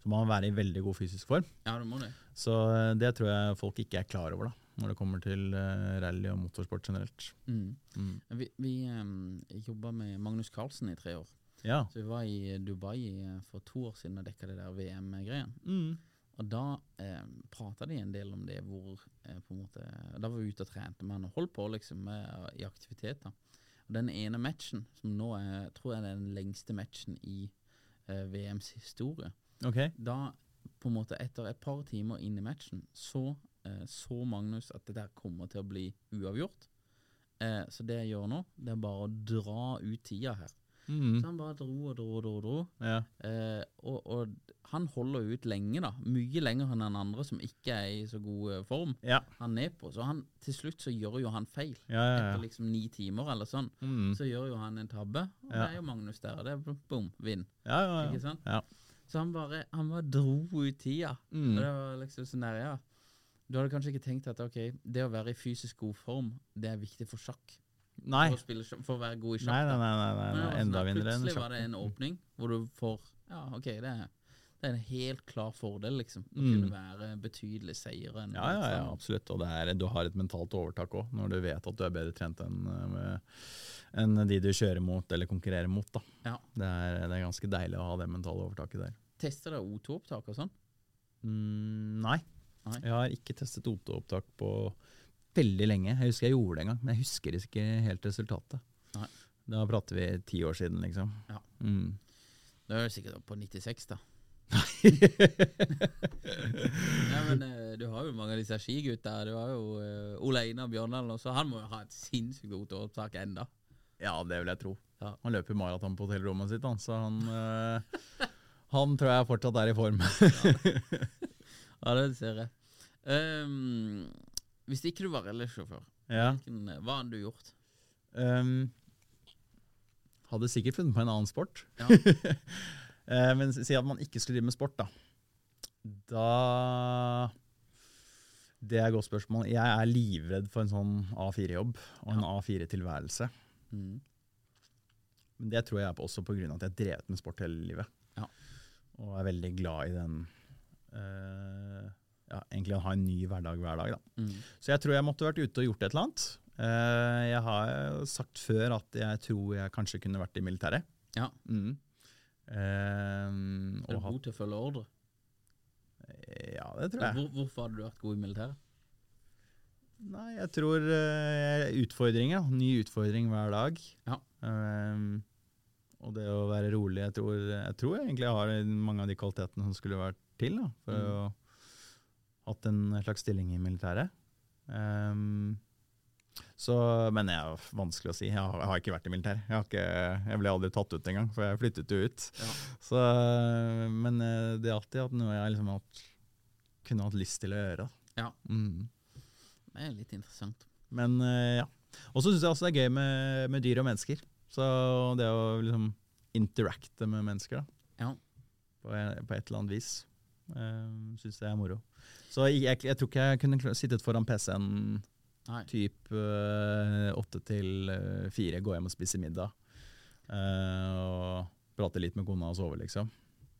Så man må være i veldig god fysisk form. Ja, du må det. Så eh, det tror jeg folk ikke er klar over, da, når det kommer til eh, rally og motorsport generelt. Mm. Mm. Vi, vi eh, jobba med Magnus Carlsen i tre år. Ja. Så vi var i Dubai eh, for to år siden og dekka det der VM-greien. Mm. Og da eh, prata de en del om det hvor eh, på en måte, Da var vi ute og trente med han og holdt på liksom med, i aktiviteter. Og den ene matchen, som nå er, tror jeg er den lengste matchen i eh, VMs historie Ok. Da, på en måte etter et par timer inn i matchen, så eh, så Magnus at det der kommer til å bli uavgjort. Eh, så det jeg gjør nå, det er bare å dra ut tida her. Så Mm. han bare dro og dro og dro. og dro. Ja. Eh, og, og han holder jo ut lenge, da. Mye lenger enn den andre som ikke er i så god eh, form. Ja. Han er på. Så han, til slutt så gjør jo han feil. Ja, ja, Etter ja. liksom ni timer eller sånn, Mm. så gjør jo han en tabbe. Og det Ja. er jo Magnus der, og det er bom, vinn. ja, ja, Ikke ja. sant? ja. Så han bare, han bare dro ut tida. Mm. Og det var liksom sånn der, ja. Du hadde kanskje ikke tenkt at ok, det å være i fysisk god form, det er viktig for sjakk. Nei. For å, spille, sjakk- for å være god i sjakk. Nei, da. nei, nei, nei, nei, Men det var nei. sånn enda at vinnere enn Plutselig var det sjakk. en åpning hvor du får Ja, OK, det er, det er en helt klar fordel, liksom. Å Mm. kunne være betydelig seire. enn Ja, ja, ja, motstander. absolutt. Og det er, du har et mentalt overtak òg, når du vet at du er bedre trent enn eh, enn de du kjører mot eller konkurrerer mot. da. Ja. Det er, det er ganske deilig å ha det mentale overtaket der. Tester dere O2-opptak og sånn? Mm, nei. Nei. Jeg har ikke testet OT-opptak på veldig lenge. Jeg husker jeg gjorde det en gang, men jeg husker ikke helt resultatet. Nei. Da prater vi ti år siden, liksom. Ja. Mm. Det er jo sikkert opp på 96, [laughs] da. Nei, men eh, du har jo mange av disse skigutta. Du har jo eh, Ole Einar Bjørndalen også. Han må jo ha et sinnssykt O2-opptak enda. ja, det vil jeg tro. Ja. Han løper maraton på hotellrommet sitt, han, så han, [laughs] eh, han tror jeg fortsatt er i form. Ja, det ser jeg. Ehm, hvis ikke du var rallysjåfør, Ja. hvilken- hva hadde du gjort? Ehm, hadde sikkert funnet på en annen sport. Ja. [laughs] Eh, men si at man ikke skulle drive med sport, da. Da Det er et godt spørsmål. Jeg er livredd for en sånn A4-jobb og en A4-tilværelse. Mm. Men det tror jeg er på, også pga. at jeg har drevet med sport hele livet. Ja. Og er veldig glad i den eh, ja, Egentlig å ha en ny hverdag hver dag, da. Mm. Så jeg tror jeg måtte vært ute og gjort et eller annet. Eh, jeg har jo sagt før at jeg tror jeg kanskje kunne vært i militæret. Ja. Mm. Eh, Er du og hatt, god til å følge ordre? ja, det tror jeg. Hvor, hvorfor hadde du vært god i militæret? Nei, jeg tror eh, utfordringer. da. Ny utfordring hver dag. Ja. Eh, og det å være rolig. Jeg tror, jeg tror jeg egentlig jeg har mange av de kvalitetene som skulle vært til da, Mm. for å hatt en slags stilling i militæret. Eh, så, men det er jo vanskelig å si. Jeg har, jeg har ikke vært i militæret. Jeg, har ikke, jeg ble aldri tatt ut engang, for jeg flyttet jo ut. Ja. Så, men eh, det er alltid at noe jeg liksom har hatt, kunne hatt lyst til å gjøre. da. Ja. Mm. Det er litt interessant. Men eh, ja. Og så syns jeg også det er gøy med, med dyr og mennesker. Så det å liksom interacte med mennesker da, Ja. på, på et eller annet vis, uh, syns jeg er moro. Så jeg, jeg, jeg tror ikke jeg kunne kl- sittet foran PC-en Nei. typ eh, åtte til eh, fire, gå hjem og spise middag. eh, og prate litt med kona og sove, liksom.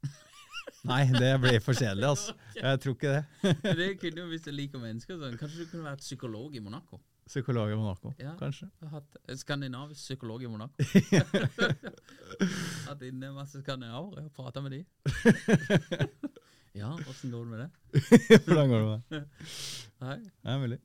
[laughs] Nei, det blir for kjedelig, altså. Jeg tror ikke det. [laughs] Det kunne jo, Hvis du liker mennesker sånn. Kanskje du kunne vært psykolog i Monaco? Psykolog i Monaco, Ja. kanskje. [laughs] Hatt en skandinavisk psykolog i [laughs] Monaco. Hatt inne masse skandinaver og prata [laughs] med de. ja, åssen går det med det? Hvordan går det med deg? Nei, Det er mulig.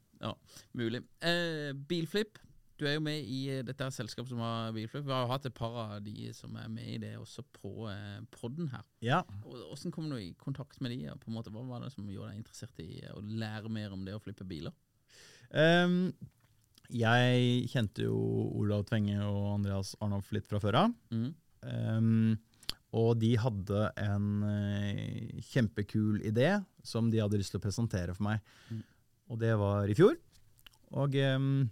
mulig. Eh, bilflip. Du er jo med i eh, dette her selskapet som har bilflip. Vi har jo hatt et par av de som er med i det også på eh, podden her. Ja. Og- Hvordan kom du i kontakt med de? og på en måte, Hva var det som gjorde deg interessert i å lære mer om det å flippe biler? Ehm, jeg kjente jo Olav Tvenge og Andreas Arnolf litt fra før av. Mhm. Ehm, og de hadde en eh, kjempekul idé som de hadde lyst til å presentere for meg. Og det var i fjor. Og ehm,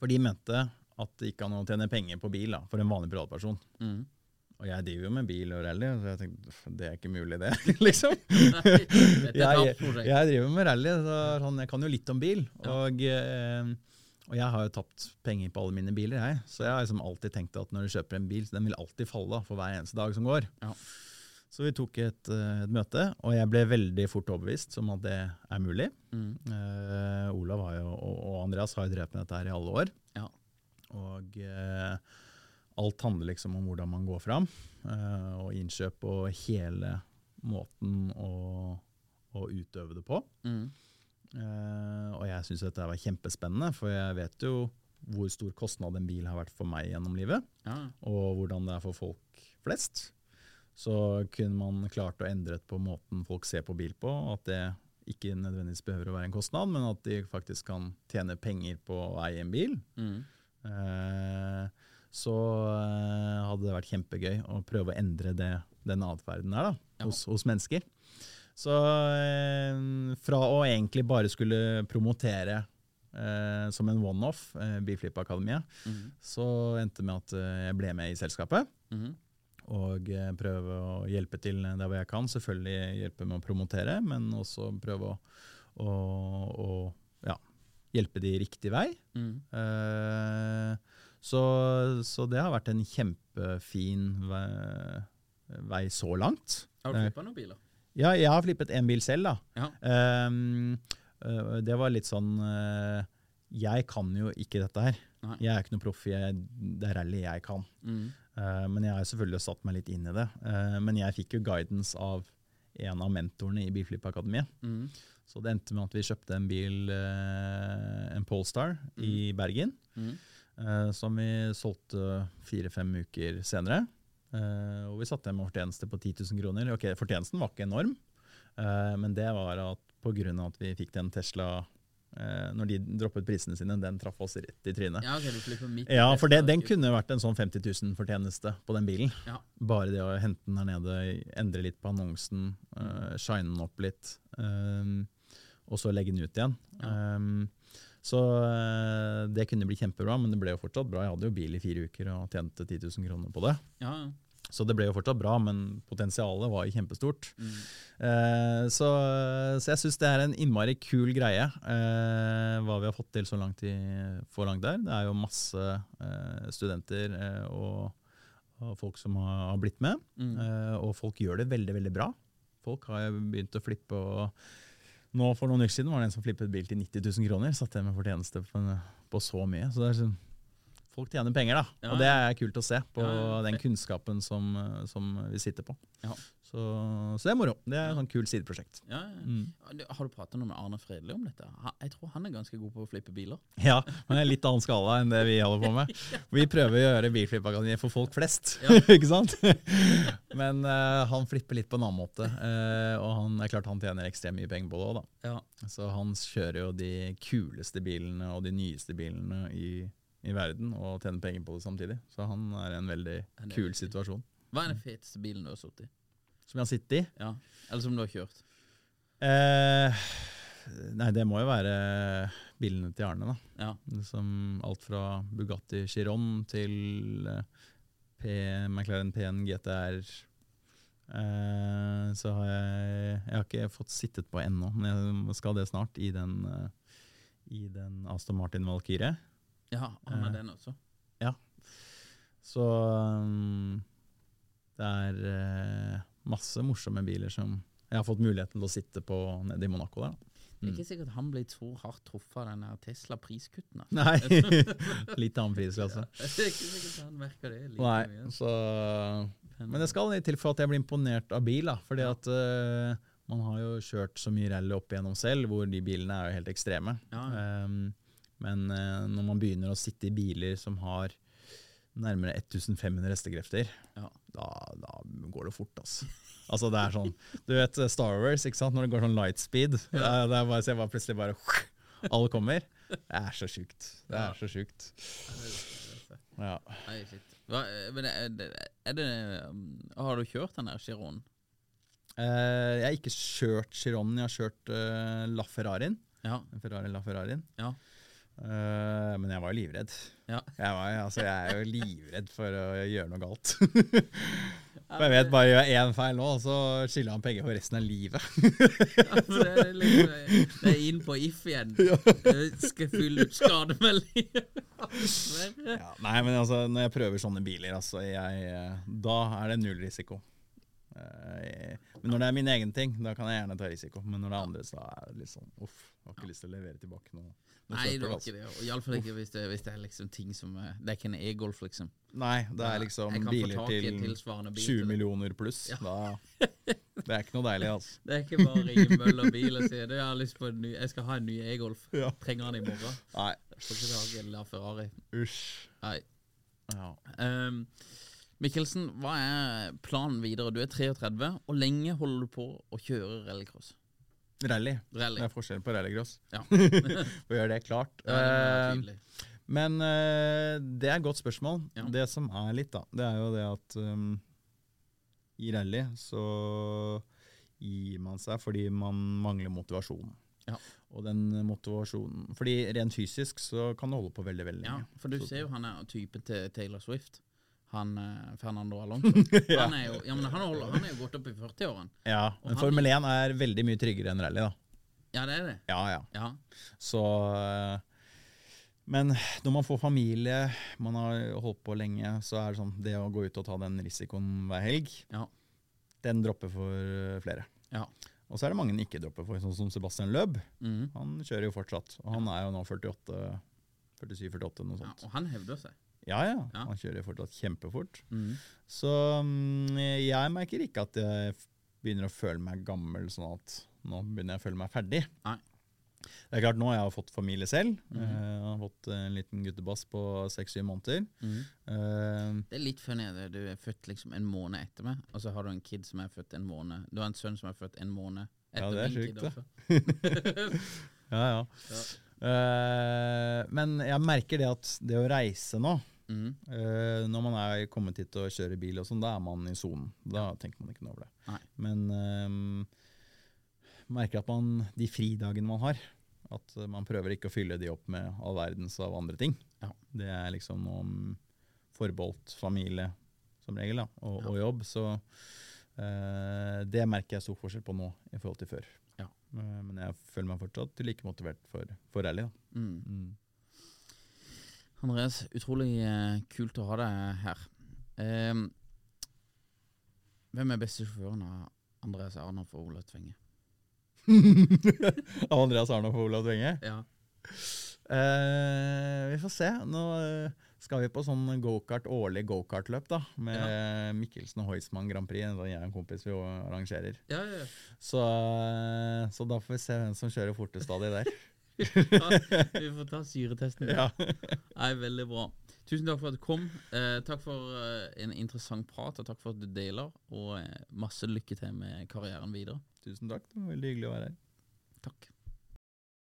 For de mente at det gikk an å tjene penger på bil da, for en vanlig privatperson. Mhm. Og jeg driver jo med bil og rally, så jeg tenkte "Pff, det er ikke mulig, det. [laughs] liksom. Dette er et jeg, tapsprosjekt. jeg driver med rally, så sånn, jeg kan jo litt om bil. Og, eh, og jeg har jo tapt penger på alle mine biler, jeg. Så jeg har liksom alltid tenkt at når du kjøper en bil, så den vil alltid falle for hver eneste dag som går. Ja. Så vi tok et, eh, et møte, og jeg ble veldig fort overbevist om at det er mulig. Mhm. Eh, Olav har jo, og, og Andreas har jo drevet med dette her i alle år. Ja. Og eh, alt handler liksom om hvordan man går fram, eh, og innkjøp og hele måten å, å utøve det på. Mhm. Eh, og jeg syns dette var kjempespennende, for jeg vet jo hvor stor kostnad en bil har vært for meg gjennom livet, Ja. og hvordan det er for folk flest. Så kunne man klart å endre på måten folk ser på bil på, at det ikke nødvendigvis behøver å være en kostnad, men at de faktisk kan tjene penger på å eie en bil, Mhm. Eh, så eh, hadde det vært kjempegøy å prøve å endre det, den atferden der da, Ja. hos, hos mennesker. Så eh, fra å egentlig bare skulle promotere eh, som en one-off eh, Biflip Akademiet, Mhm. så endte det med at eh, jeg ble med i selskapet. Mhm. Og eh, prøve å hjelpe til der hvor jeg kan. Selvfølgelig hjelpe med å promotere, men også prøve å, å, å ja, hjelpe de riktig vei. Mhm. Eh, så, så det har vært en kjempefin vei, vei så langt. Har du flippa noen biler? Ja, jeg har flippet en bil selv, da. Ja. Ehm, øh, det var litt sånn øh, Jeg kan jo ikke dette her. Nei. Jeg er ikke noe proff. jeg- Det er rally jeg kan. Mhm. Eh, men jeg har jo selvfølgelig satt meg litt inn i det. Eh, men jeg fikk jo guidance av en av mentorene i Bilflip Akademiet. Mhm. Så det endte med at vi kjøpte en bil, eh, en Polestar, i Bergen. Mhm. eh, som vi solgte fire-fem uker senere. Eh, og vi satte en fortjeneste på 10 000 kroner. Ok, Fortjenesten var ikke enorm, eh, men det var at pga. at vi fikk den Tesla eh, når de droppet prisene sine, den traff oss rett i trynet. Ja, ok, du flipper midt i Ja, for det, Tesla, den ikke- kunne vært en sånn 50 000-fortjeneste på den bilen. Ja. Bare det å hente den her nede, endre litt på annonsen, eh, shine den opp litt. eh, og så legge den ut igjen. Ehm, så eh, det kunne bli kjempebra, men det ble jo fortsatt bra. Jeg hadde jo bil i fire uker og tjente 10 000 kroner på det. Ja, ja. Så det ble jo fortsatt bra, men potensialet var jo kjempestort. Eh, så, så jeg syns det er en innmari kul greie, eh, hva vi har fått til så langt, i, for langt der. Det er jo masse eh, studenter eh, og, og folk som har, har blitt med, Mm. eh, og folk gjør det veldig, veldig bra. Folk har jo begynt å flippe og nå For noen uker siden var det en som flippet bil til 90 000 kroner. Satt igjen med fortjeneste på, på så mye. Så det er sånn, folk tjener penger, da. Ja, og det er kult å se på Ja, ja, den fe- kunnskapen som, eh, som vi sitter på. Ja. Så, så det er moro. Det er et sånn kult sideprosjekt. ja, ja. Mm. Du, Har du prata noe med Arne Fredli om dette? Ha- Jeg tror han er ganske god på å flippe biler. Ja, men det er litt annen skala enn det vi holder på med. Vi prøver å gjøre bilflippakademiet for folk flest, [laughs] ikke sant? Men eh, han flipper litt på en annen måte, eh, og han, det er klart han tjener ekstremt mye penger på det òg, da. Ja. Så han kjører jo de kuleste bilene og de nyeste bilene i, i verden, og tjener penger på det samtidig. Så han er i en veldig Han er kul veldig- situasjon. Hva er den feteste bilen du har sittet i? Som jeg har sittet i. Ja. Eller som du har kjørt? Eh, nei, det må jo være bilene til Arne, da. Ja. Som alt fra Bugatti Chiron til eh, P, McLaren P1 GTR. Eh, så har jeg Jeg har ikke fått sittet på ennå, men jeg skal det snart. I den, eh, i den Aston Martin Valkyrie. ja, han er den også. Så um, det er eh, masse morsomme biler som jeg har fått muligheten til å sitte på nede i Monaco der. da. Det Mm. er ikke sikkert han blir så hardt truffet av den her Tesla-priskutten. altså. Nei. Litt annen altså. prisklasse. [laughs] Det er ikke sikkert han merker det like Nei, mye. så Men det skal litt til for at jeg blir imponert av bil, da. Fordi at eh, man har jo kjørt så mye rally opp igjennom selv, hvor de bilene er jo helt ekstreme. Ja, ja. Ehm, men eh, når man begynner å sitte i biler som har nærmere 1500 hestekrefter, Ja. da, da går det fort, altså. Altså det er sånn, Du vet eh, Star Wars, ikke sant? når det går sånn light speed. Ja. Det er bare, så jeg bare plutselig bare [laughs] Alle kommer. Det er så sjukt. Det er så sjukt. Ja. Nei, shit. Hva, eh, men er det, er det um, Har du kjørt den der Chironen? Eh, jeg har ikke kjørt Chironen, jeg har kjørt eh, La Ferrarien. Ja. En Ferrari La Ferrarien. Ja. Eh, men jeg var jo livredd. Ja. Jeg, var, altså, jeg er jo livredd for å gjøre noe galt. [laughs] for jeg vet bare gjør jeg én feil nå, så skylder han penger for resten av livet. [laughs] Altså, det, er liksom, det er inn på if igjen. [laughs] Jeg Skal fylle ut eh, skademelding. [laughs] Verre. ja, nei, men altså, når jeg prøver sånne biler, altså, jeg, eh, da er det null risiko. Eh, men når det er min egen ting, da kan jeg gjerne ta risiko. Men når det er andres, da er det litt sånn uff. Jeg har ikke lyst til å levere tilbake noe. noe Nei, det søppel, var altså. ikke det. Og Iallfall ikke hvis det, hvis det er liksom ting som eh, Det er ikke en e-golf, liksom. Nei, det er Nei, liksom jeg kan få biler tak i en til tilsvarende bil 20 til det. millioner pluss. Da, det er ikke noe deilig, altså. Det er ikke bare å ringe Møller bil og si du, jeg, har lyst på en ny, jeg skal ha en ny e-golf. Ja. Trenger den i morgen. Nei, Får ikke tak i en La Ferrari. usj. Nei. Ja. Ehm, Mikkelsen, hva er planen videre? Du er 33. Hvor lenge holder du på å kjøre rallycross? Rally. Rally. Det er forskjell på rallycross. Ja. Får gjøre det klart. Ja, det er [laughs] tydelig. Eh, men eh, det er et godt spørsmål. Ja. Det som er litt, da, det er jo det at um, i rally så gir man seg fordi man mangler motivasjon. Ja. Og den motivasjonen Fordi rent fysisk så kan du holde på veldig, veldig Ja, lenge. for du Så- [laughs] ser jo han er typen til Taylor Swift. Han eh, Fernando [laughs] Alonso. Han er jo, ja, men han, holder, han er jo gått opp i 40-årene. Ja, men Formel 1 er veldig mye tryggere enn rally, da. Ja, det er det. Ja, ja. Ja. Så eh, Men når man får familie, man har holdt på lenge, så er det sånn Det å gå ut og ta den risikoen hver helg, Ja. den dropper for eh, flere. ja. Og så er det mange den ikke dropper for, sånn som Sebastian Løb. Mhm. Han kjører jo fortsatt. Og han er jo nå 48 47-48, ja. noe sånt. Og han hevder seg. Ja, ja. Ja. Han kjører fortsatt kjempefort. Mhm. Så mm, jeg merker ikke at jeg f- begynner å føle meg gammel, sånn at nå begynner jeg å føle meg ferdig. Nei. Mm. Det er klart, nå har jeg fått familie selv. Eh, Jeg har fått en liten guttebass på seks-syv måneder. Mm. Eh, Det er litt funny at du er født liksom en måned etter meg, og så har du en kid som er født en måned Du har en sønn som er født en måned Ja, etter det er min sjukt, kid. det. også. [laughs] ja, ja. Eh, men jeg merker det at det å reise nå Mhm. eh, Når man er kommet hit og kjører bil, og sånn, da er man i sonen. Da tenker man ikke noe over det. Nei. Men ehm, merker at man, de fridagene man har, at eh, man prøver ikke å fylle de opp med all verdens av andre ting. Ja. Det er liksom noe mm, forbeholdt familie som regel, da, og, og jobb. Så eh, det merker jeg stor forskjell på nå i forhold til før. Ja. Eh, men jeg føler meg fortsatt like motivert for, for rally. Da. Mm. Andreas, utrolig eh, kult å ha deg her. Ehm, hvem er beste sjåføren av Andreas Arnoff og Olav Tvenge? Av Andreas Arnoff og Olav Dvenge. Ja. Eh, vi får se. Nå eh, skal vi på sånn gokart, årlig gokartløp da, med Mikkelsen og Heusmann Grand Prix. En sånn jeg og en kompis vi arrangerer. Ja, ja, ja. Så, eh, så da får vi se hvem som kjører fortest av de der. [laughs] Vi får ta syretesten. [laughs] ja. Nei, veldig bra. Tusen takk for at du kom. Eh, takk for eh, en interessant prat, og takk for at du deler. Og eh, masse lykke til med karrieren videre. Tusen takk, det var veldig hyggelig å være her. Takk.